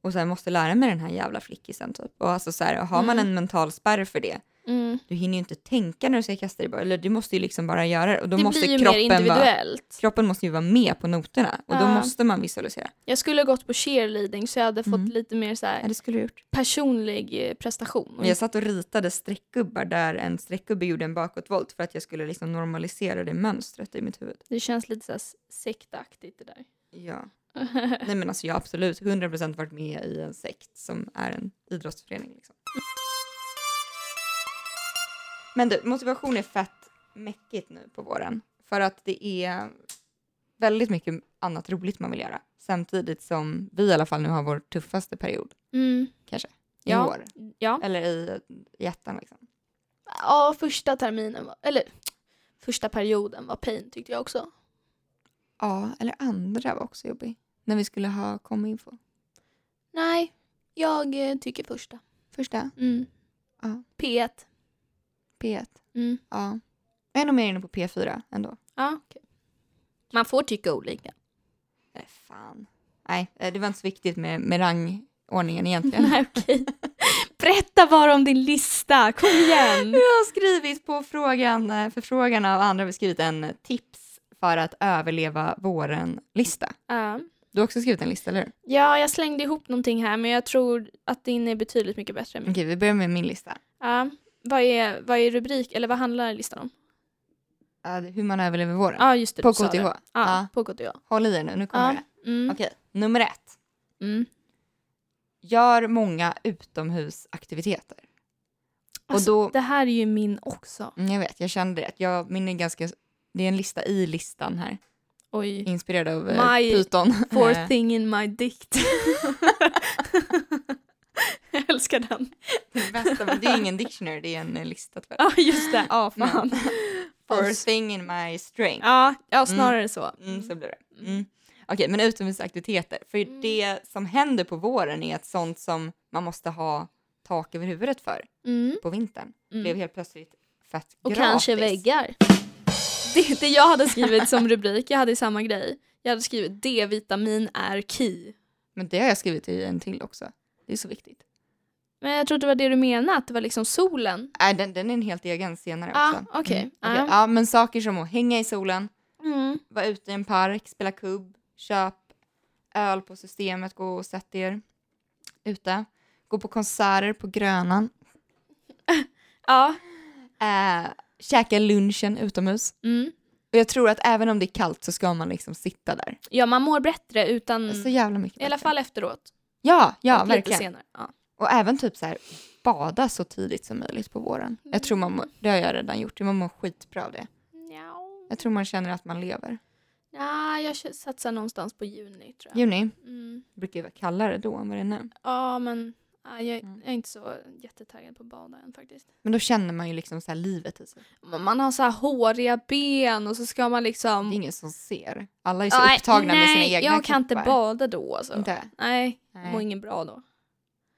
[SPEAKER 1] och sen måste lära mig den här jävla flickisen typ. Och alltså så här, har man
[SPEAKER 2] Mm.
[SPEAKER 1] en mental spärr för det,
[SPEAKER 2] Mm.
[SPEAKER 1] du hinner ju inte tänka när du ska kasta dig bara, eller du måste ju liksom bara göra det och då
[SPEAKER 2] Det
[SPEAKER 1] måste
[SPEAKER 2] blir ju mer
[SPEAKER 1] kroppen vara,
[SPEAKER 2] individuellt.
[SPEAKER 1] kroppen måste ju vara med på noterna och då
[SPEAKER 2] Ja.
[SPEAKER 1] måste man visualisera.
[SPEAKER 2] Jag skulle ha gått på cheerleading så jag hade
[SPEAKER 1] Mm.
[SPEAKER 2] fått lite mer så här
[SPEAKER 1] Ja, det skulle du gjort.
[SPEAKER 2] personlig eh, prestation.
[SPEAKER 1] Och jag satt och ritade streckgubbar där en streckgubbe gjorde en bakåtvolt för att jag skulle liksom normalisera det mönstret i mitt huvud.
[SPEAKER 2] Det känns lite så här sektaktigt det där.
[SPEAKER 1] Ja. Nej men alltså jag har absolut 100% varit med i en sekt som är en idrottsförening. Liksom. Men du, motivation är fett mäckigt nu på våren. För att det är väldigt mycket annat roligt man vill göra. Samtidigt som vi i alla fall nu har vår tuffaste period
[SPEAKER 2] Mm.
[SPEAKER 1] i
[SPEAKER 2] Ja.
[SPEAKER 1] år.
[SPEAKER 2] Ja.
[SPEAKER 1] Eller i hjärtan liksom.
[SPEAKER 2] ja, första terminen, var, eller första perioden var pain tyckte jag också.
[SPEAKER 1] Ja, eller andra var också jobbig. När vi skulle ha kominfo.
[SPEAKER 2] Nej, jag eh, tycker första.
[SPEAKER 1] Första,
[SPEAKER 2] Mm.
[SPEAKER 1] Ja.
[SPEAKER 2] P1.
[SPEAKER 1] P1.
[SPEAKER 2] Mm.
[SPEAKER 1] Ja. Jag är nog mer inne på P4 ändå.
[SPEAKER 2] Ja, okej. Man får tycka olika.
[SPEAKER 1] Nej, fan. Nej, eh, det var inte så viktigt med, med rangordningen egentligen.
[SPEAKER 2] Nej, okej. Berätta bara om din lista, kom igen.
[SPEAKER 1] Jag har skrivit på frågan, eh, förfrågan av andra, vi har skrivit en tips för att överleva våren-lista.
[SPEAKER 2] Ja.
[SPEAKER 1] Du har också skrivit en lista, eller hur?
[SPEAKER 2] Ja, jag slängde ihop någonting här men jag tror att din är betydligt mycket bättre än min.
[SPEAKER 1] Okej, vi börjar med min lista.
[SPEAKER 2] Ja, vad, är, vad är rubrik, eller vad handlar listan om?
[SPEAKER 1] Ja, det- hur man överlever våren.
[SPEAKER 2] Ja, just det.
[SPEAKER 1] På
[SPEAKER 2] du sa det.
[SPEAKER 1] KTH.
[SPEAKER 2] Ja,
[SPEAKER 1] Ja.
[SPEAKER 2] på KTH.
[SPEAKER 1] Håll i er nu, nu kommer
[SPEAKER 2] Ja.
[SPEAKER 1] det.
[SPEAKER 2] Mm.
[SPEAKER 1] Okej, nummer ett.
[SPEAKER 2] Mm.
[SPEAKER 1] Gör många utomhusaktiviteter.
[SPEAKER 2] Alltså,
[SPEAKER 1] och då,
[SPEAKER 2] Det här är ju min också.
[SPEAKER 1] Mm, jag vet, jag kände det. Jag, min är ganska, det är en lista i listan här.
[SPEAKER 2] Oj.
[SPEAKER 1] Inspirerad av eh,
[SPEAKER 2] My
[SPEAKER 1] Python. Eh,
[SPEAKER 2] Four thing in my dict. jag älskar den.
[SPEAKER 1] det, bästa, men det är ingen dictionary, det är en eh, lista. tyvärr.
[SPEAKER 2] Ja, just det. Ja, fan.
[SPEAKER 1] First thing in my string.
[SPEAKER 2] Ja, ja snarare så.
[SPEAKER 1] Mm, så blir det. Mm. Okej, men utomhusaktiviteter. För
[SPEAKER 2] Mm.
[SPEAKER 1] det som händer på våren är ett sånt som man måste ha tak över huvudet för
[SPEAKER 2] Mm.
[SPEAKER 1] på vintern.
[SPEAKER 2] Mm.
[SPEAKER 1] Blev helt plötsligt fett
[SPEAKER 2] Och
[SPEAKER 1] gratis.
[SPEAKER 2] kanske väggar. Det, det jag hade skrivit som rubrik, jag hade samma grej. Jag hade skrivit D-vitamin är key.
[SPEAKER 1] Men det har jag skrivit i en till också. Det är så viktigt.
[SPEAKER 2] Men jag tror det var det du menade, att det var liksom solen.
[SPEAKER 1] Nej, Äh, den, den är en helt egen senare
[SPEAKER 2] Ah,
[SPEAKER 1] också.
[SPEAKER 2] okej.
[SPEAKER 1] Mm,
[SPEAKER 2] Ah.
[SPEAKER 1] okej. Ja, men saker som att hänga i solen,
[SPEAKER 2] Mm.
[SPEAKER 1] vara ute i en park, spela kubb, köp öl på systemet, gå och sätt er ute. Gå på konserter på Grönan.
[SPEAKER 2] Ja.
[SPEAKER 1] Eh, käka lunchen utomhus.
[SPEAKER 2] Mm.
[SPEAKER 1] Och jag tror att även om det är kallt så ska man liksom sitta där. Alltså,
[SPEAKER 2] ja, man mår bättre utan,
[SPEAKER 1] Så jävla mycket
[SPEAKER 2] Mm. i alla
[SPEAKER 1] bättre.
[SPEAKER 2] fall efteråt.
[SPEAKER 1] Ja, ja
[SPEAKER 2] och Lite
[SPEAKER 1] verkligen.
[SPEAKER 2] senare. Ja.
[SPEAKER 1] Och även typ så här, bada så tidigt som möjligt på våren. Jag tror man mår,
[SPEAKER 2] Mm.
[SPEAKER 1] det har jag redan gjort, man mår skitbra av det.
[SPEAKER 2] Nja.
[SPEAKER 1] Jag tror man känner att man lever.
[SPEAKER 2] Ja, jag kö- satsar någonstans på juni tror jag.
[SPEAKER 1] Juni
[SPEAKER 2] Mm.
[SPEAKER 1] brukar ju vara kallare då än vad det är nu.
[SPEAKER 2] Ja, men ja, jag,
[SPEAKER 1] Mm.
[SPEAKER 2] jag är inte så jättetaggad på att bada än faktiskt.
[SPEAKER 1] Men då känner man ju liksom så här livet i sig.
[SPEAKER 2] Men Man har så här håriga ben och så ska man
[SPEAKER 1] Det
[SPEAKER 2] liksom...
[SPEAKER 1] är ingen som ser. Alla är så
[SPEAKER 2] Nej,
[SPEAKER 1] upptagna med sina
[SPEAKER 2] nej,
[SPEAKER 1] egna
[SPEAKER 2] jag kan inte
[SPEAKER 1] kroppar.
[SPEAKER 2] bada då alltså.
[SPEAKER 1] Inte?
[SPEAKER 2] Nej,
[SPEAKER 1] Nej.
[SPEAKER 2] jag mår ingen bra då.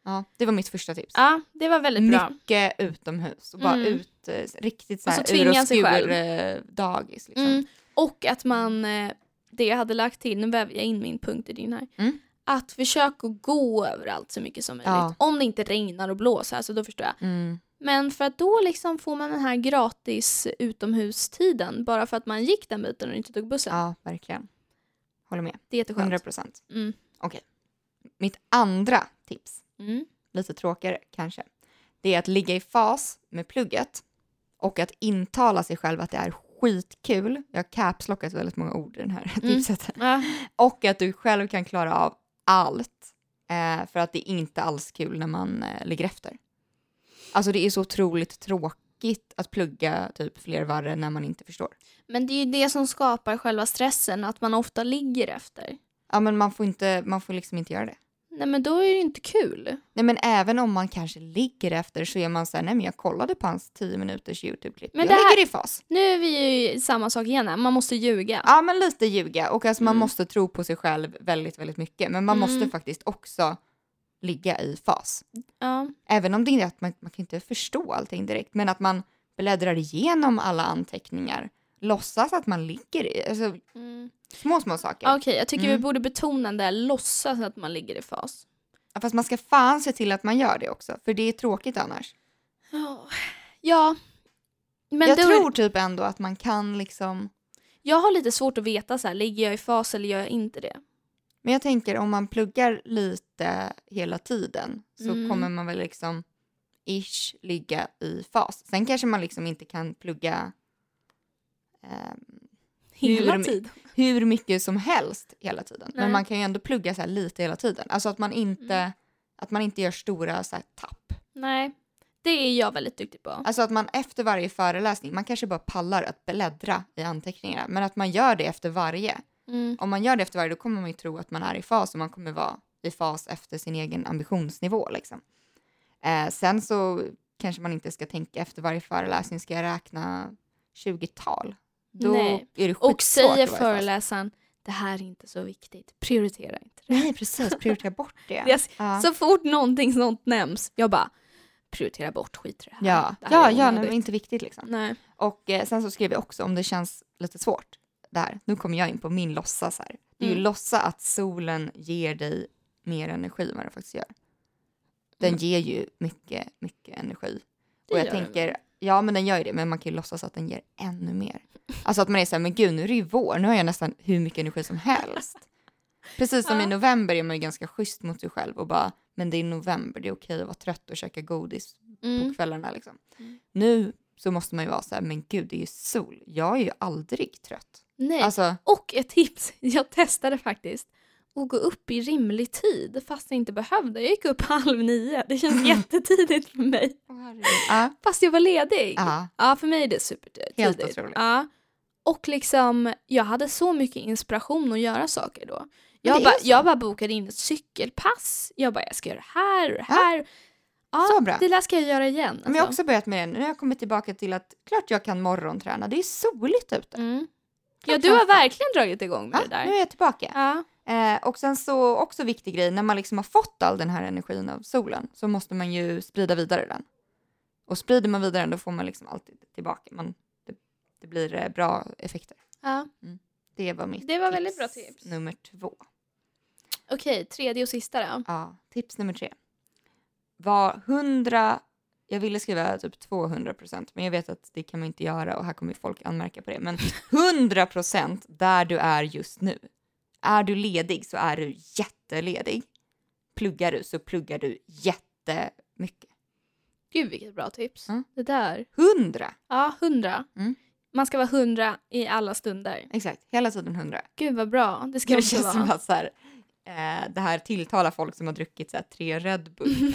[SPEAKER 1] Ja, det var mitt första tips.
[SPEAKER 2] Ja, det var väldigt bra.
[SPEAKER 1] Mycket utomhus och bara
[SPEAKER 2] Mm.
[SPEAKER 1] ut, eh, riktigt så
[SPEAKER 2] Och
[SPEAKER 1] här
[SPEAKER 2] så tvinga sig
[SPEAKER 1] ur och
[SPEAKER 2] själv.
[SPEAKER 1] skur eh, dagis. Liksom.
[SPEAKER 2] Mm. Och att man, eh, det jag hade lagt till, nu väver jag in min punkt i din här.
[SPEAKER 1] Mm.
[SPEAKER 2] Att försöka att gå överallt så mycket som möjligt.
[SPEAKER 1] Ja.
[SPEAKER 2] Om det inte regnar och blåser, alltså då förstår jag.
[SPEAKER 1] Mm.
[SPEAKER 2] Men för att då liksom får man den här gratis utomhustiden bara för att man gick den biten och inte tog bussen.
[SPEAKER 1] Ja, verkligen. Håller med.
[SPEAKER 2] Det är jätteskönt.
[SPEAKER 1] 100 procent.
[SPEAKER 2] Mm.
[SPEAKER 1] Mitt andra tips,
[SPEAKER 2] Mm.
[SPEAKER 1] lite tråkigare kanske, det är att ligga i fas med plugget och att intala sig själv att det är skitkul. Jag har capslockat väldigt många ord i den här
[SPEAKER 2] Mm.
[SPEAKER 1] tipset.
[SPEAKER 2] Ja.
[SPEAKER 1] Och att du själv kan klara av allt. Eh, för att det är inte alls kul när man eh, ligger efter. Alltså det är så otroligt tråkigt att plugga typ fler varre när man inte förstår.
[SPEAKER 2] Men det är ju det som skapar själva stressen, att man ofta ligger efter.
[SPEAKER 1] Ja men man får, inte, man får liksom inte göra det.
[SPEAKER 2] Nej men då är det ju inte kul.
[SPEAKER 1] Nej men även om man kanske ligger efter så är man såhär, nej men jag kollade på hans 10 minuters YouTube-klipp.
[SPEAKER 2] Men
[SPEAKER 1] Jag
[SPEAKER 2] det här-
[SPEAKER 1] ligger i fas.
[SPEAKER 2] Nu är vi ju i samma sak igen här, man måste ljuga.
[SPEAKER 1] Ja men lite ljuga och alltså man
[SPEAKER 2] Mm.
[SPEAKER 1] måste tro på sig själv väldigt, väldigt mycket. Men man måste
[SPEAKER 2] Mm.
[SPEAKER 1] faktiskt också ligga i fas.
[SPEAKER 2] Ja.
[SPEAKER 1] även om det inte är att man, man kan inte förstå allting direkt, men att man bläddrar igenom alla anteckningar, låtsas att man ligger i, alltså
[SPEAKER 2] Mm.
[SPEAKER 1] små, små saker.
[SPEAKER 2] Ah, Okej, jag tycker
[SPEAKER 1] Mm.
[SPEAKER 2] vi borde betona det där låtsas att man ligger i fas.
[SPEAKER 1] Fast man ska fan se till att man gör det också, för det är tråkigt annars.
[SPEAKER 2] Ja. Ja. Men
[SPEAKER 1] jag
[SPEAKER 2] då,
[SPEAKER 1] tror typ ändå att man kan liksom,
[SPEAKER 2] jag har lite svårt att veta så här, ligger jag i fas eller gör jag inte det?
[SPEAKER 1] men jag tänker om man pluggar lite hela tiden så
[SPEAKER 2] Mm.
[SPEAKER 1] kommer man väl liksom ish ligga i fas. Sen kanske man liksom inte kan plugga ehm,
[SPEAKER 2] Hela
[SPEAKER 1] Hur-
[SPEAKER 2] tiden.
[SPEAKER 1] hur mycket som helst hela tiden. Men
[SPEAKER 2] Nej. Mm.
[SPEAKER 1] man kan ju ändå plugga så här lite hela tiden. Alltså att man inte, att man inte gör stora så här tapp.
[SPEAKER 2] Nej, det är jag väldigt duktig på.
[SPEAKER 1] Alltså att man efter varje föreläsning, man kanske bara pallar att bläddra i anteckningarna, men att man gör det efter varje.
[SPEAKER 2] Mm.
[SPEAKER 1] Om man gör det efter varje då kommer man ju tro att man är i fas och man kommer vara i fas efter sin egen ambitionsnivå liksom. Eh, sen så kanske man inte ska tänka efter varje föreläsning, ska jag räkna 20-tal? Då
[SPEAKER 2] Nej.
[SPEAKER 1] är det
[SPEAKER 2] Och
[SPEAKER 1] skitsvårt att
[SPEAKER 2] säger
[SPEAKER 1] vara i fas.
[SPEAKER 2] föreläsaren, det här är inte så viktigt, prioritera inte det.
[SPEAKER 1] Nej precis, prioritera bort det.
[SPEAKER 2] Yes.
[SPEAKER 1] Ja.
[SPEAKER 2] Så fort någonting sånt nämns, jag bara, prioritera bort, skit i det här.
[SPEAKER 1] Ja,
[SPEAKER 2] det här
[SPEAKER 1] ja,
[SPEAKER 2] är
[SPEAKER 1] ja nej,
[SPEAKER 2] onödigt."
[SPEAKER 1] men inte viktigt liksom.
[SPEAKER 2] Nej.
[SPEAKER 1] Och eh, sen så skrev jag också om det känns lite svårt där. Nu kommer jag in på min låtsas här. Det är ju
[SPEAKER 2] Mm.
[SPEAKER 1] låtsa att solen ger dig mer energi än vad den faktiskt gör. Den
[SPEAKER 2] Mm.
[SPEAKER 1] ger ju mycket, mycket energi.
[SPEAKER 2] Det
[SPEAKER 1] och jag
[SPEAKER 2] gör den
[SPEAKER 1] tänker, ja men den gör ju det, men man kan ju låtsas att den ger ännu mer. Alltså att man är så här, men gud nu är det ju vår, nu har jag nästan hur mycket energi som helst. Precis som
[SPEAKER 2] Ja.
[SPEAKER 1] i november är man ju ganska schysst mot sig själv och bara, men det är november, det är okej att vara trött och käka godis på
[SPEAKER 2] Mm.
[SPEAKER 1] kvällarna. Liksom.
[SPEAKER 2] Mm.
[SPEAKER 1] Nu så måste man ju vara så här, men gud det är ju sol, jag är ju aldrig trött.
[SPEAKER 2] Nej.
[SPEAKER 1] Alltså,
[SPEAKER 2] Och ett tips, jag testade faktiskt att gå upp i rimlig tid fast jag inte behövde. Jag gick upp halv nio, det känns jättetidigt för mig.
[SPEAKER 1] ja,
[SPEAKER 2] Fast jag var ledig.
[SPEAKER 1] ja,
[SPEAKER 2] Ja, för mig är det supertidigt.
[SPEAKER 1] Helt otroligt.
[SPEAKER 2] Ja. Och liksom, jag hade så mycket inspiration att göra saker då.
[SPEAKER 1] det
[SPEAKER 2] Jag,
[SPEAKER 1] är
[SPEAKER 2] bara,
[SPEAKER 1] så.
[SPEAKER 2] jag bara bokade in ett cykelpass. Jag bara, jag ska göra det här och det
[SPEAKER 1] Ja.
[SPEAKER 2] här. Ja,
[SPEAKER 1] Så bra.
[SPEAKER 2] Det där ska jag göra igen. Alltså.
[SPEAKER 1] men jag har också börjat med det, nu har jag kommit tillbaka till att klart jag kan morgonträna, det är soligt ute.
[SPEAKER 2] mm. Ja,
[SPEAKER 1] Klart
[SPEAKER 2] du
[SPEAKER 1] som fan.
[SPEAKER 2] har verkligen dragit igång med
[SPEAKER 1] Ja,
[SPEAKER 2] det där.
[SPEAKER 1] nu är jag tillbaka.
[SPEAKER 2] Ja.
[SPEAKER 1] Eh, och sen så, också viktig grej, när man liksom har fått all den här energin av solen så måste man ju sprida vidare den. Och sprider man vidare den då får man liksom alltid tillbaka. Man, det, det blir eh, bra effekter.
[SPEAKER 2] ja.
[SPEAKER 1] Det var mitt
[SPEAKER 2] Det var
[SPEAKER 1] tips
[SPEAKER 2] väldigt bra tips.
[SPEAKER 1] nummer två.
[SPEAKER 2] Okej, tredje och sista då.
[SPEAKER 1] Ja, tips nummer tre. Var 100, jag ville skriva typ 200 procent men jag vet att det kan man inte göra och här kommer folk anmärka på det. Men 100 procent där du är just nu. Är du ledig så är du jätteledig. Pluggar du så pluggar du jättemycket.
[SPEAKER 2] Gud vilket bra tips.
[SPEAKER 1] Mm.
[SPEAKER 2] Det där.
[SPEAKER 1] 100!
[SPEAKER 2] Ja, hundra.
[SPEAKER 1] Mm.
[SPEAKER 2] Man ska vara hundra i alla stunder.
[SPEAKER 1] Exakt, hela tiden 100.
[SPEAKER 2] Gud vad bra. Det ska
[SPEAKER 1] Det
[SPEAKER 2] det också
[SPEAKER 1] känns som
[SPEAKER 2] vara.
[SPEAKER 1] att så här, eh, det här tilltalar folk som har druckit så här, tre Red Bull.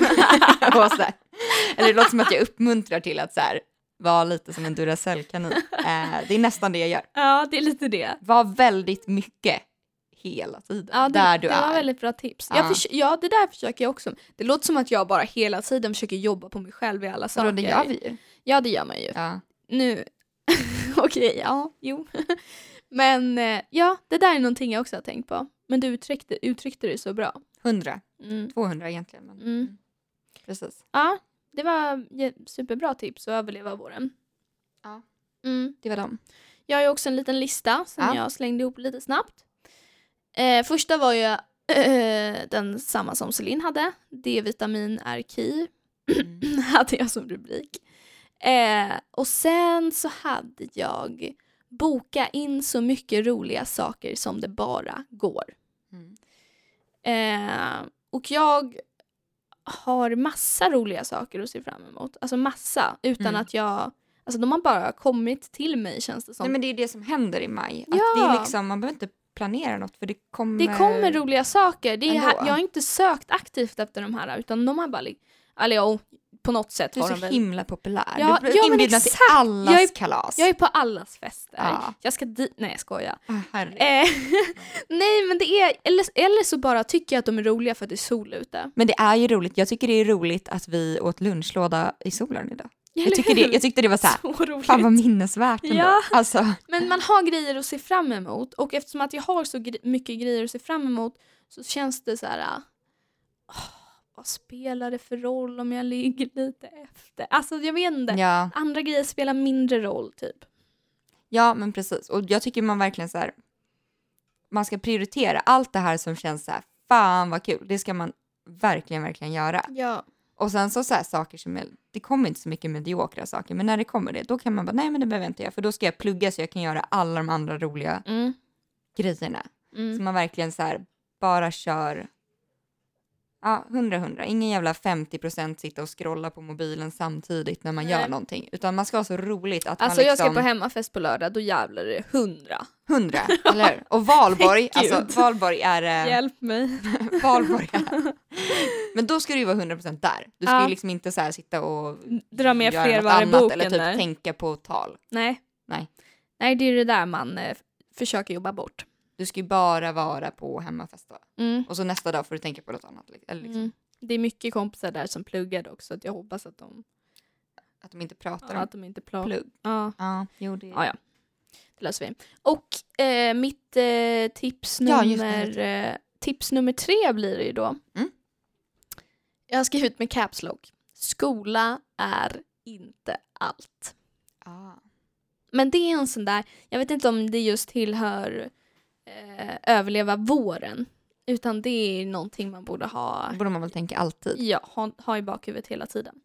[SPEAKER 1] och så här. Eller det låter som att jag uppmuntrar till att så här, vara lite som en Duracell-kanin. Eh, det är nästan det jag gör.
[SPEAKER 2] Ja, det är lite det.
[SPEAKER 1] Var väldigt mycket hela tiden,
[SPEAKER 2] Ja, det,
[SPEAKER 1] där du
[SPEAKER 2] det
[SPEAKER 1] är.
[SPEAKER 2] var väldigt bra tips.
[SPEAKER 1] Ja.
[SPEAKER 2] Jag förs- ja, det där försöker jag också. Det låter som att jag bara hela tiden försöker jobba på mig själv i alla
[SPEAKER 1] Så då,
[SPEAKER 2] saker.
[SPEAKER 1] det gör vi ju.
[SPEAKER 2] Ja, det gör man ju.
[SPEAKER 1] Ja.
[SPEAKER 2] Nu. Okej, ja, jo. Men eh, ja, det där är någonting jag också har tänkt på. Men du uttryckte, uttryckte det så bra.
[SPEAKER 1] 100,
[SPEAKER 2] Mm.
[SPEAKER 1] 200 egentligen. Men
[SPEAKER 2] Mm.
[SPEAKER 1] Precis.
[SPEAKER 2] Ja, det var jä- superbra tips att överleva våren.
[SPEAKER 1] Ja.
[SPEAKER 2] Mm.
[SPEAKER 1] Det var dem.
[SPEAKER 2] Jag har ju också en liten lista som
[SPEAKER 1] Ja.
[SPEAKER 2] jag slängde ihop lite snabbt. Eh, första var ju eh, den samma som Celine hade. D-vitamin är key,
[SPEAKER 1] Mm.
[SPEAKER 2] hade jag som rubrik. Eh, och sen så hade jag boka in så mycket roliga saker som det bara går.
[SPEAKER 1] Mm.
[SPEAKER 2] Eh, och jag har massa roliga saker att se fram emot. Alltså massa, utan
[SPEAKER 1] Mm.
[SPEAKER 2] att jag... Alltså de har bara kommit till mig känns det som.
[SPEAKER 1] Nej, men det är det som händer i maj. Att
[SPEAKER 2] Ja.
[SPEAKER 1] det är liksom, man behöver inte planera något för det kommer...
[SPEAKER 2] Det kommer roliga saker. Det är
[SPEAKER 1] Ändå.
[SPEAKER 2] här, jag har inte sökt aktivt efter de här utan de har bara... lig- Eller ja, på något sätt
[SPEAKER 1] Du
[SPEAKER 2] har
[SPEAKER 1] är
[SPEAKER 2] de
[SPEAKER 1] så
[SPEAKER 2] väl...
[SPEAKER 1] himla populär.
[SPEAKER 2] Ja,
[SPEAKER 1] du blir
[SPEAKER 2] ja, men
[SPEAKER 1] inbjuden till
[SPEAKER 2] exakt.
[SPEAKER 1] allas
[SPEAKER 2] Jag är-
[SPEAKER 1] kalas.
[SPEAKER 2] Jag är på allas fester.
[SPEAKER 1] Ja.
[SPEAKER 2] Jag ska dit... Nej jag skojar.
[SPEAKER 1] Ah, herregud.
[SPEAKER 2] Eh, nej men det är... Eller, eller så bara tycker jag att de är roliga för att det är sol ute.
[SPEAKER 1] Men det är ju roligt. Jag tycker det är roligt att vi åt lunchlåda i solen idag. Jag,
[SPEAKER 2] Eller
[SPEAKER 1] tycker det,
[SPEAKER 2] hur?
[SPEAKER 1] jag tyckte det var så här,
[SPEAKER 2] så roligt.
[SPEAKER 1] fan vad minnesvärt ändå.
[SPEAKER 2] Ja.
[SPEAKER 1] Alltså,
[SPEAKER 2] Men man har grejer att se fram emot och eftersom att jag har så gre- mycket grejer att se fram emot så känns det så här. ah, "Åh, vad spelar det för roll om jag ligger lite efter? Alltså jag vet inte.
[SPEAKER 1] ja.
[SPEAKER 2] Andra grejer spelar mindre roll typ.
[SPEAKER 1] ja, men precis. Och jag tycker man verkligen så här, man ska prioritera allt det här som känns så här, fan vad kul, det ska man verkligen, verkligen göra.
[SPEAKER 2] Ja.
[SPEAKER 1] Och sen så, så här, saker som, är, det kommer inte så mycket mediokra saker, men när det kommer det, då kan man bara, nej men det behöver jag inte göra, för då ska jag plugga så jag kan göra alla de andra roliga
[SPEAKER 2] Mm.
[SPEAKER 1] grejerna. Så
[SPEAKER 2] Mm.
[SPEAKER 1] man verkligen så här, bara kör ja, 100-100. Ingen jävla 50% sitta och scrolla på mobilen samtidigt när man gör
[SPEAKER 2] Nej.
[SPEAKER 1] någonting. Utan man ska ha så roligt att
[SPEAKER 2] Alltså
[SPEAKER 1] man
[SPEAKER 2] jag ska
[SPEAKER 1] liksom...
[SPEAKER 2] på hemmafest på lördag, då jävlar är det hundra.
[SPEAKER 1] 100, eller hur? Och Valborg,
[SPEAKER 2] Gud.
[SPEAKER 1] alltså Valborg är... eh,
[SPEAKER 2] Hjälp mig.
[SPEAKER 1] Valborg är. Men då ska du ju vara 100% där. Du ska
[SPEAKER 2] Ja.
[SPEAKER 1] ju liksom inte så här sitta och
[SPEAKER 2] Dra med
[SPEAKER 1] göra
[SPEAKER 2] fler
[SPEAKER 1] något
[SPEAKER 2] var i
[SPEAKER 1] annat
[SPEAKER 2] boken
[SPEAKER 1] eller typ
[SPEAKER 2] där.
[SPEAKER 1] tänka på tal.
[SPEAKER 2] Nej.
[SPEAKER 1] Nej.
[SPEAKER 2] Nej, det är det där man eh, f- försöker jobba bort.
[SPEAKER 1] Du ska ju bara vara på hemmafest då.
[SPEAKER 2] Mm.
[SPEAKER 1] Och så nästa dag får du tänka på något annat. li- Eller liksom,
[SPEAKER 2] Mm. Det är mycket kompisar där som pluggar också, att jag hoppas att de,
[SPEAKER 1] att de inte pratar
[SPEAKER 2] att de inte
[SPEAKER 1] om
[SPEAKER 2] plockar.
[SPEAKER 1] plugg.
[SPEAKER 2] Ja,
[SPEAKER 1] Ja, jo, det...
[SPEAKER 2] ja, ja. Det löser vi. Och eh, mitt eh, tips,
[SPEAKER 1] Ja, just det,
[SPEAKER 2] nummer,
[SPEAKER 1] just
[SPEAKER 2] eh, tips nummer tre blir det ju då.
[SPEAKER 1] Mm.
[SPEAKER 2] Jag har skrivit med caps lock. Skola är inte allt.
[SPEAKER 1] Ah.
[SPEAKER 2] Men det är en sån där, jag vet inte om det just tillhör eh, överleva våren. Utan det är någonting man borde ha
[SPEAKER 1] Mm. Det borde man väl tänka alltid.
[SPEAKER 2] Ja, ha, ha i bakhuvudet hela tiden.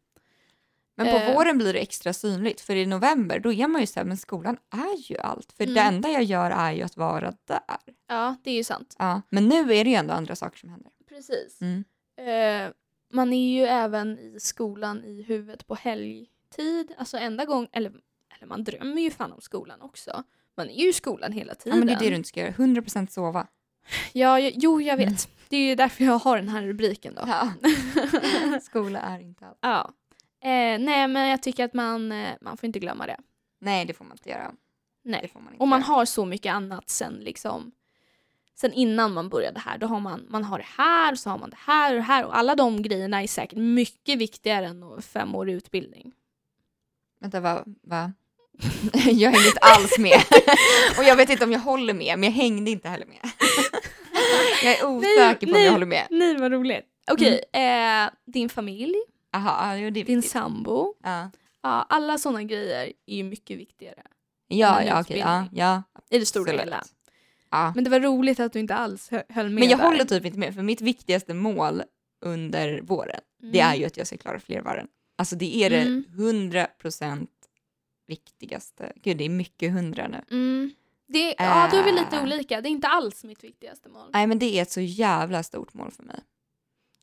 [SPEAKER 1] Men på
[SPEAKER 2] Eh.
[SPEAKER 1] våren blir det extra synligt för i november då är man ju så här, men skolan är ju allt. För det
[SPEAKER 2] Mm.
[SPEAKER 1] enda jag gör är ju att vara där.
[SPEAKER 2] Ja, det är ju sant.
[SPEAKER 1] Ja. Men nu är det ju ändå andra saker som händer.
[SPEAKER 2] Precis.
[SPEAKER 1] Mm.
[SPEAKER 2] Eh, man är ju även i skolan i huvudet på helgtid. Alltså enda gång, eller, eller man drömmer ju fan om skolan också. Man är ju i skolan hela
[SPEAKER 1] Ja,
[SPEAKER 2] tiden.
[SPEAKER 1] men det är det du inte ska göra, 100% sova.
[SPEAKER 2] Ja, jag, jo, jag vet.
[SPEAKER 1] Mm.
[SPEAKER 2] Det är ju därför jag har den här rubriken då.
[SPEAKER 1] Ja. Skola är inte allt.
[SPEAKER 2] Ja. Eh, nej, men jag tycker att man, eh, man får inte glömma det.
[SPEAKER 1] Nej det får man inte göra. Det
[SPEAKER 2] Nej.
[SPEAKER 1] får man inte
[SPEAKER 2] Och man
[SPEAKER 1] göra.
[SPEAKER 2] har så mycket annat sen liksom sen innan man började här. Då har man, man har det här, så har man det här och det här och alla de grejerna är säkert mycket viktigare än att fem år i utbildning.
[SPEAKER 1] Vänta va? va? jag hängde inte alls med. och jag vet inte om jag håller med men jag hängde inte heller med. jag är osäker på om
[SPEAKER 2] nej.
[SPEAKER 1] jag håller med.
[SPEAKER 2] Nej, vad roligt. Okej, eh, din familj,
[SPEAKER 1] Aha, ja, jo, det är
[SPEAKER 2] din
[SPEAKER 1] Mm. viktigt.
[SPEAKER 2] sambo,
[SPEAKER 1] Ja,
[SPEAKER 2] ja, alla sådana grejer är ju mycket viktigare
[SPEAKER 1] ja,
[SPEAKER 2] Men
[SPEAKER 1] ja okej. Ja,
[SPEAKER 2] utbildning.
[SPEAKER 1] ja,
[SPEAKER 2] i det stora
[SPEAKER 1] absolut.
[SPEAKER 2] hela.
[SPEAKER 1] Ja.
[SPEAKER 2] Men det var roligt att du inte alls hö- höll med
[SPEAKER 1] Men jag
[SPEAKER 2] där.
[SPEAKER 1] håller typ inte med för mitt viktigaste mål under våren det är ju att jag ska klara fler varven. Alltså det är det
[SPEAKER 2] Mm.
[SPEAKER 1] 100% viktigaste. Gud det är mycket hundra nu.
[SPEAKER 2] Mm. Det, ja, då är vi lite
[SPEAKER 1] Äh.
[SPEAKER 2] olika. Det är inte alls mitt viktigaste mål.
[SPEAKER 1] Nej men det är ett så jävla stort mål för mig.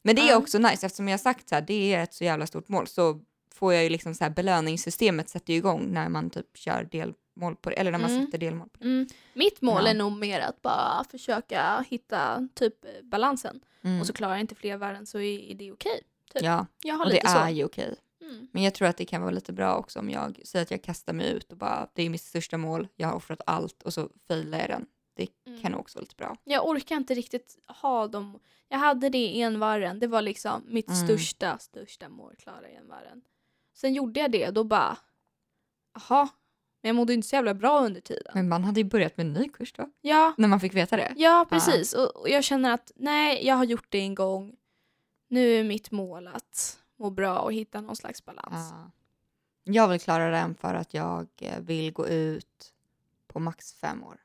[SPEAKER 1] Men det är
[SPEAKER 2] Ja.
[SPEAKER 1] också nice eftersom jag har sagt så här, det är ett så jävla stort mål så får jag ju liksom så här belöningssystemet sätter ju igång när man typ kör delmål på det, eller när man
[SPEAKER 2] Mm.
[SPEAKER 1] sätter delmål på det.
[SPEAKER 2] Mm. Mitt mål
[SPEAKER 1] Ja.
[SPEAKER 2] är nog mer att bara försöka hitta typ eh, balansen.
[SPEAKER 1] Mm.
[SPEAKER 2] Och så klarar jag inte fler värden så är, är det okej.
[SPEAKER 1] ja,
[SPEAKER 2] Jag har
[SPEAKER 1] och det
[SPEAKER 2] Typ. lite så.
[SPEAKER 1] är ju okej.
[SPEAKER 2] Mm.
[SPEAKER 1] Men jag tror att det kan vara lite bra också om jag säger att jag kastar mig ut och bara det är mitt största mål, jag har offrat allt och så failar jag den. Det
[SPEAKER 2] Mm.
[SPEAKER 1] kan nog också vara lite bra.
[SPEAKER 2] Jag orkar inte riktigt ha dem. Jag hade det i envarren. Det var liksom mitt
[SPEAKER 1] Mm.
[SPEAKER 2] största, största mål. Klara envarren. Sen gjorde jag det och då bara, jaha. Men jag mådde ju inte så jävla bra under tiden.
[SPEAKER 1] Men man hade ju börjat med en ny kurs då,
[SPEAKER 2] Ja,
[SPEAKER 1] när man fick veta det.
[SPEAKER 2] Ja, precis. Och, och jag känner att nej, jag har gjort det en gång. Nu är mitt mål att må bra och hitta någon slags balans.
[SPEAKER 1] Ja. Jag vill klara den för att jag eh, vill gå ut på max fem år.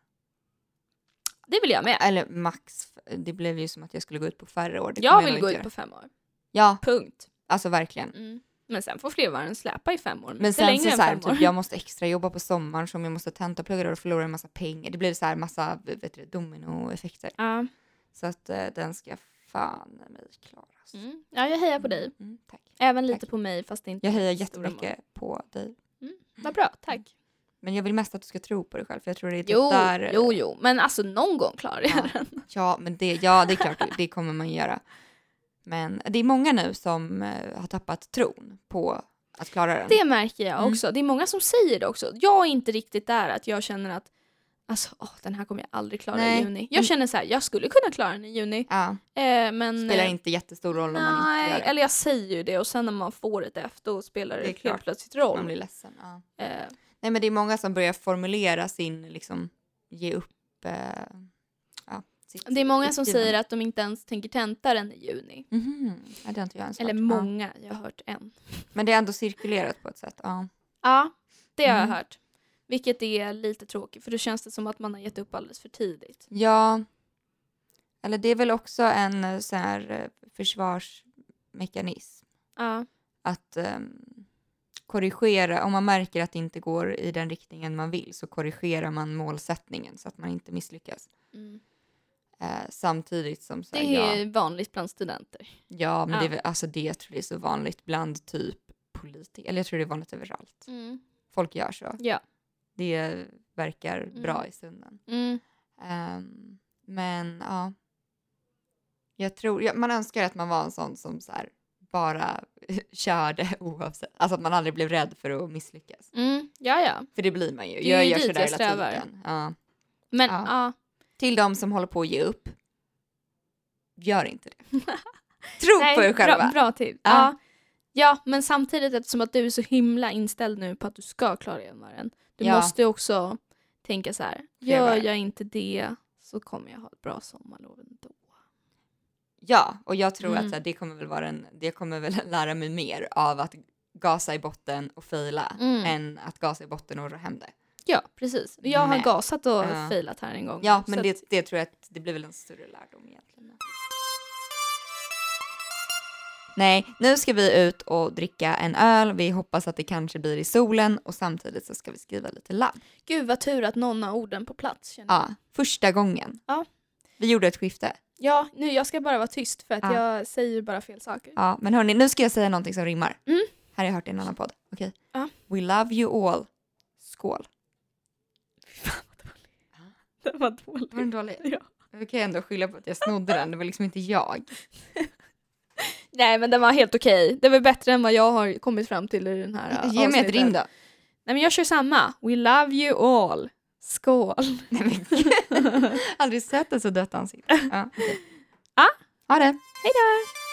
[SPEAKER 2] Det vill jag med.
[SPEAKER 1] Eller max, f- det blev ju som att jag skulle gå ut på färre år. Det kommer
[SPEAKER 2] Jag vill
[SPEAKER 1] nog
[SPEAKER 2] gå
[SPEAKER 1] inte
[SPEAKER 2] ut på
[SPEAKER 1] göra.
[SPEAKER 2] fem år.
[SPEAKER 1] Ja,
[SPEAKER 2] Punkt.
[SPEAKER 1] alltså verkligen.
[SPEAKER 2] Mm. Men sen får flervararen släpa i fem år. Men,
[SPEAKER 1] Men
[SPEAKER 2] inte
[SPEAKER 1] sen
[SPEAKER 2] längre
[SPEAKER 1] så,
[SPEAKER 2] än
[SPEAKER 1] så här,
[SPEAKER 2] fem år.
[SPEAKER 1] typ, jag måste extra jobba på sommaren som jag måste tentaplugga då och förlora en massa pengar. Det blir så här massa vet du, dominoeffekter.
[SPEAKER 2] Ja.
[SPEAKER 1] Så att eh, den ska fan i mig klara. alltså.
[SPEAKER 2] Mm. ja, jag hejar på dig.
[SPEAKER 1] Mm, tack.
[SPEAKER 2] Även lite
[SPEAKER 1] Tack.
[SPEAKER 2] på mig fast det inte
[SPEAKER 1] Jag hejar
[SPEAKER 2] är stora mål.
[SPEAKER 1] jättemycket på dig.
[SPEAKER 2] Vad bra, tack.
[SPEAKER 1] Men jag vill mest att du ska tro på dig själv för jag tror det är typ
[SPEAKER 2] Jo,
[SPEAKER 1] där...
[SPEAKER 2] jo, jo. Men alltså någon gång klarar jag
[SPEAKER 1] Ja.
[SPEAKER 2] den.
[SPEAKER 1] Ja, men det, ja, det är klart, det kommer man ju göra. Men det är många nu som eh, har tappat tron på att klara den.
[SPEAKER 2] Det märker jag
[SPEAKER 1] Mm.
[SPEAKER 2] också. Det är många som säger det också. Jag är inte riktigt där att jag känner att alltså, åh, den här kommer jag aldrig klara
[SPEAKER 1] Nej.
[SPEAKER 2] i juni.
[SPEAKER 1] Mm.
[SPEAKER 2] Jag känner så här, jag skulle kunna klara den i juni.
[SPEAKER 1] ja,
[SPEAKER 2] Eh, men,
[SPEAKER 1] spelar
[SPEAKER 2] eh,
[SPEAKER 1] inte jättestor roll om man inte
[SPEAKER 2] Nej,
[SPEAKER 1] gör det.
[SPEAKER 2] eller jag säger ju det och sen när man får ett efter och spelar
[SPEAKER 1] Det
[SPEAKER 2] det
[SPEAKER 1] är klart.
[SPEAKER 2] helt plötsligt
[SPEAKER 1] Man
[SPEAKER 2] roll.
[SPEAKER 1] blir ledsen. Ja.
[SPEAKER 2] Eh,
[SPEAKER 1] Nej, men det är många som börjar formulera sin, liksom, ge upp. Eh, ja, sitt
[SPEAKER 2] det är många som säger att de inte ens tänker tenta den i juni.
[SPEAKER 1] Mhm, ja, det har inte jag ens
[SPEAKER 2] Eller
[SPEAKER 1] hört. ja.
[SPEAKER 2] många, jag har hört en.
[SPEAKER 1] Men det är ändå cirkulerat på ett sätt. Ja.
[SPEAKER 2] Ja, det har
[SPEAKER 1] Mm.
[SPEAKER 2] jag hört. Vilket är lite tråkigt för då känns det som att man har gett upp alldeles för tidigt.
[SPEAKER 1] Ja. Eller det är väl också en eh, sån här eh, försvarsmekanism.
[SPEAKER 2] Ja,
[SPEAKER 1] Att ehm, korrigera, om man märker att det inte går i den riktningen man vill så korrigerar man målsättningen så att man inte misslyckas.
[SPEAKER 2] mm.
[SPEAKER 1] Eh, samtidigt som så
[SPEAKER 2] Det
[SPEAKER 1] här,
[SPEAKER 2] är
[SPEAKER 1] ja,
[SPEAKER 2] vanligt bland studenter.
[SPEAKER 1] ja, men det, är
[SPEAKER 2] ja.
[SPEAKER 1] väl- alltså det jag tror det är så vanligt bland typ politiker, eller jag tror det är vanligt överallt.
[SPEAKER 2] Mm.
[SPEAKER 1] Folk gör så.
[SPEAKER 2] Ja.
[SPEAKER 1] Det verkar bra
[SPEAKER 2] Mm.
[SPEAKER 1] i stunden.
[SPEAKER 2] Mm.
[SPEAKER 1] Ehm, men ja. Jag tror, ja, man önskar att man var en sån som så här, bara körde oavsett. Alltså att man aldrig blev rädd för att misslyckas.
[SPEAKER 2] Mm. Ja, ja.
[SPEAKER 1] För det blir man ju.
[SPEAKER 2] är
[SPEAKER 1] Jag
[SPEAKER 2] ju
[SPEAKER 1] gör
[SPEAKER 2] dit
[SPEAKER 1] sådär
[SPEAKER 2] jag
[SPEAKER 1] hela
[SPEAKER 2] strävar.
[SPEAKER 1] tiden. Ja.
[SPEAKER 2] Men
[SPEAKER 1] Ja.
[SPEAKER 2] ja.
[SPEAKER 1] Till de som håller på att ge upp. Gör inte det. Tro
[SPEAKER 2] Nej,
[SPEAKER 1] på er själva.
[SPEAKER 2] Bra, bra till.
[SPEAKER 1] Ja.
[SPEAKER 2] Ja. Ja. men samtidigt eftersom att du är så himla inställd nu på att du ska klara jämvaren. Du
[SPEAKER 1] Ja.
[SPEAKER 2] måste ju också tänka så här.
[SPEAKER 1] Fler
[SPEAKER 2] Gör
[SPEAKER 1] varv.
[SPEAKER 2] jag inte det så kommer jag ha ett bra sommarlov ändå.
[SPEAKER 1] Ja, och jag tror att
[SPEAKER 2] Mm.
[SPEAKER 1] så här, det kommer väl vara en, det kommer väl lära mig mer av att gasa i botten och fejla
[SPEAKER 2] Mm.
[SPEAKER 1] än att gasa i botten och ro hem det.
[SPEAKER 2] Ja, precis. Jag har
[SPEAKER 1] Men-
[SPEAKER 2] gasat och
[SPEAKER 1] Ja.
[SPEAKER 2] failat här en gång.
[SPEAKER 1] Ja, men
[SPEAKER 2] så
[SPEAKER 1] det,
[SPEAKER 2] att-
[SPEAKER 1] det tror jag att det blir väl en större lärdom egentligen. Nej, nu ska vi ut och dricka en öl. Vi hoppas att det kanske blir i solen och samtidigt så ska vi skriva lite labb.
[SPEAKER 2] Gud vad tur att någon har orden på plats. Känner. jag.
[SPEAKER 1] Ja, första gången.
[SPEAKER 2] Ja.
[SPEAKER 1] Vi gjorde ett skifte.
[SPEAKER 2] Ja, nu jag ska bara vara tyst för att
[SPEAKER 1] Ja.
[SPEAKER 2] jag säger bara fel saker.
[SPEAKER 1] Ja, men hörni, nu ska jag säga någonting som rimmar.
[SPEAKER 2] Mm.
[SPEAKER 1] Här har jag hört i en annan podd. Okej.
[SPEAKER 2] Ja.
[SPEAKER 1] We love you all. Skål.
[SPEAKER 2] Det var dåligt.
[SPEAKER 1] Var den dålig?
[SPEAKER 2] Ja.
[SPEAKER 1] Vi kan ju ändå skylla på att jag snodde den, det var liksom inte jag.
[SPEAKER 2] Nej men den var helt okej. Det var bättre än vad jag har kommit fram till i den här
[SPEAKER 1] Ge mig ett
[SPEAKER 2] avsnittet.
[SPEAKER 1] rim då.
[SPEAKER 2] Nej men jag kör samma. We love you all. Skål.
[SPEAKER 1] Nej men gud. Aldrig sett ett så dött ansikte. Ja, okej.
[SPEAKER 2] Ja.
[SPEAKER 1] Ah, Ha det.
[SPEAKER 2] Hej då.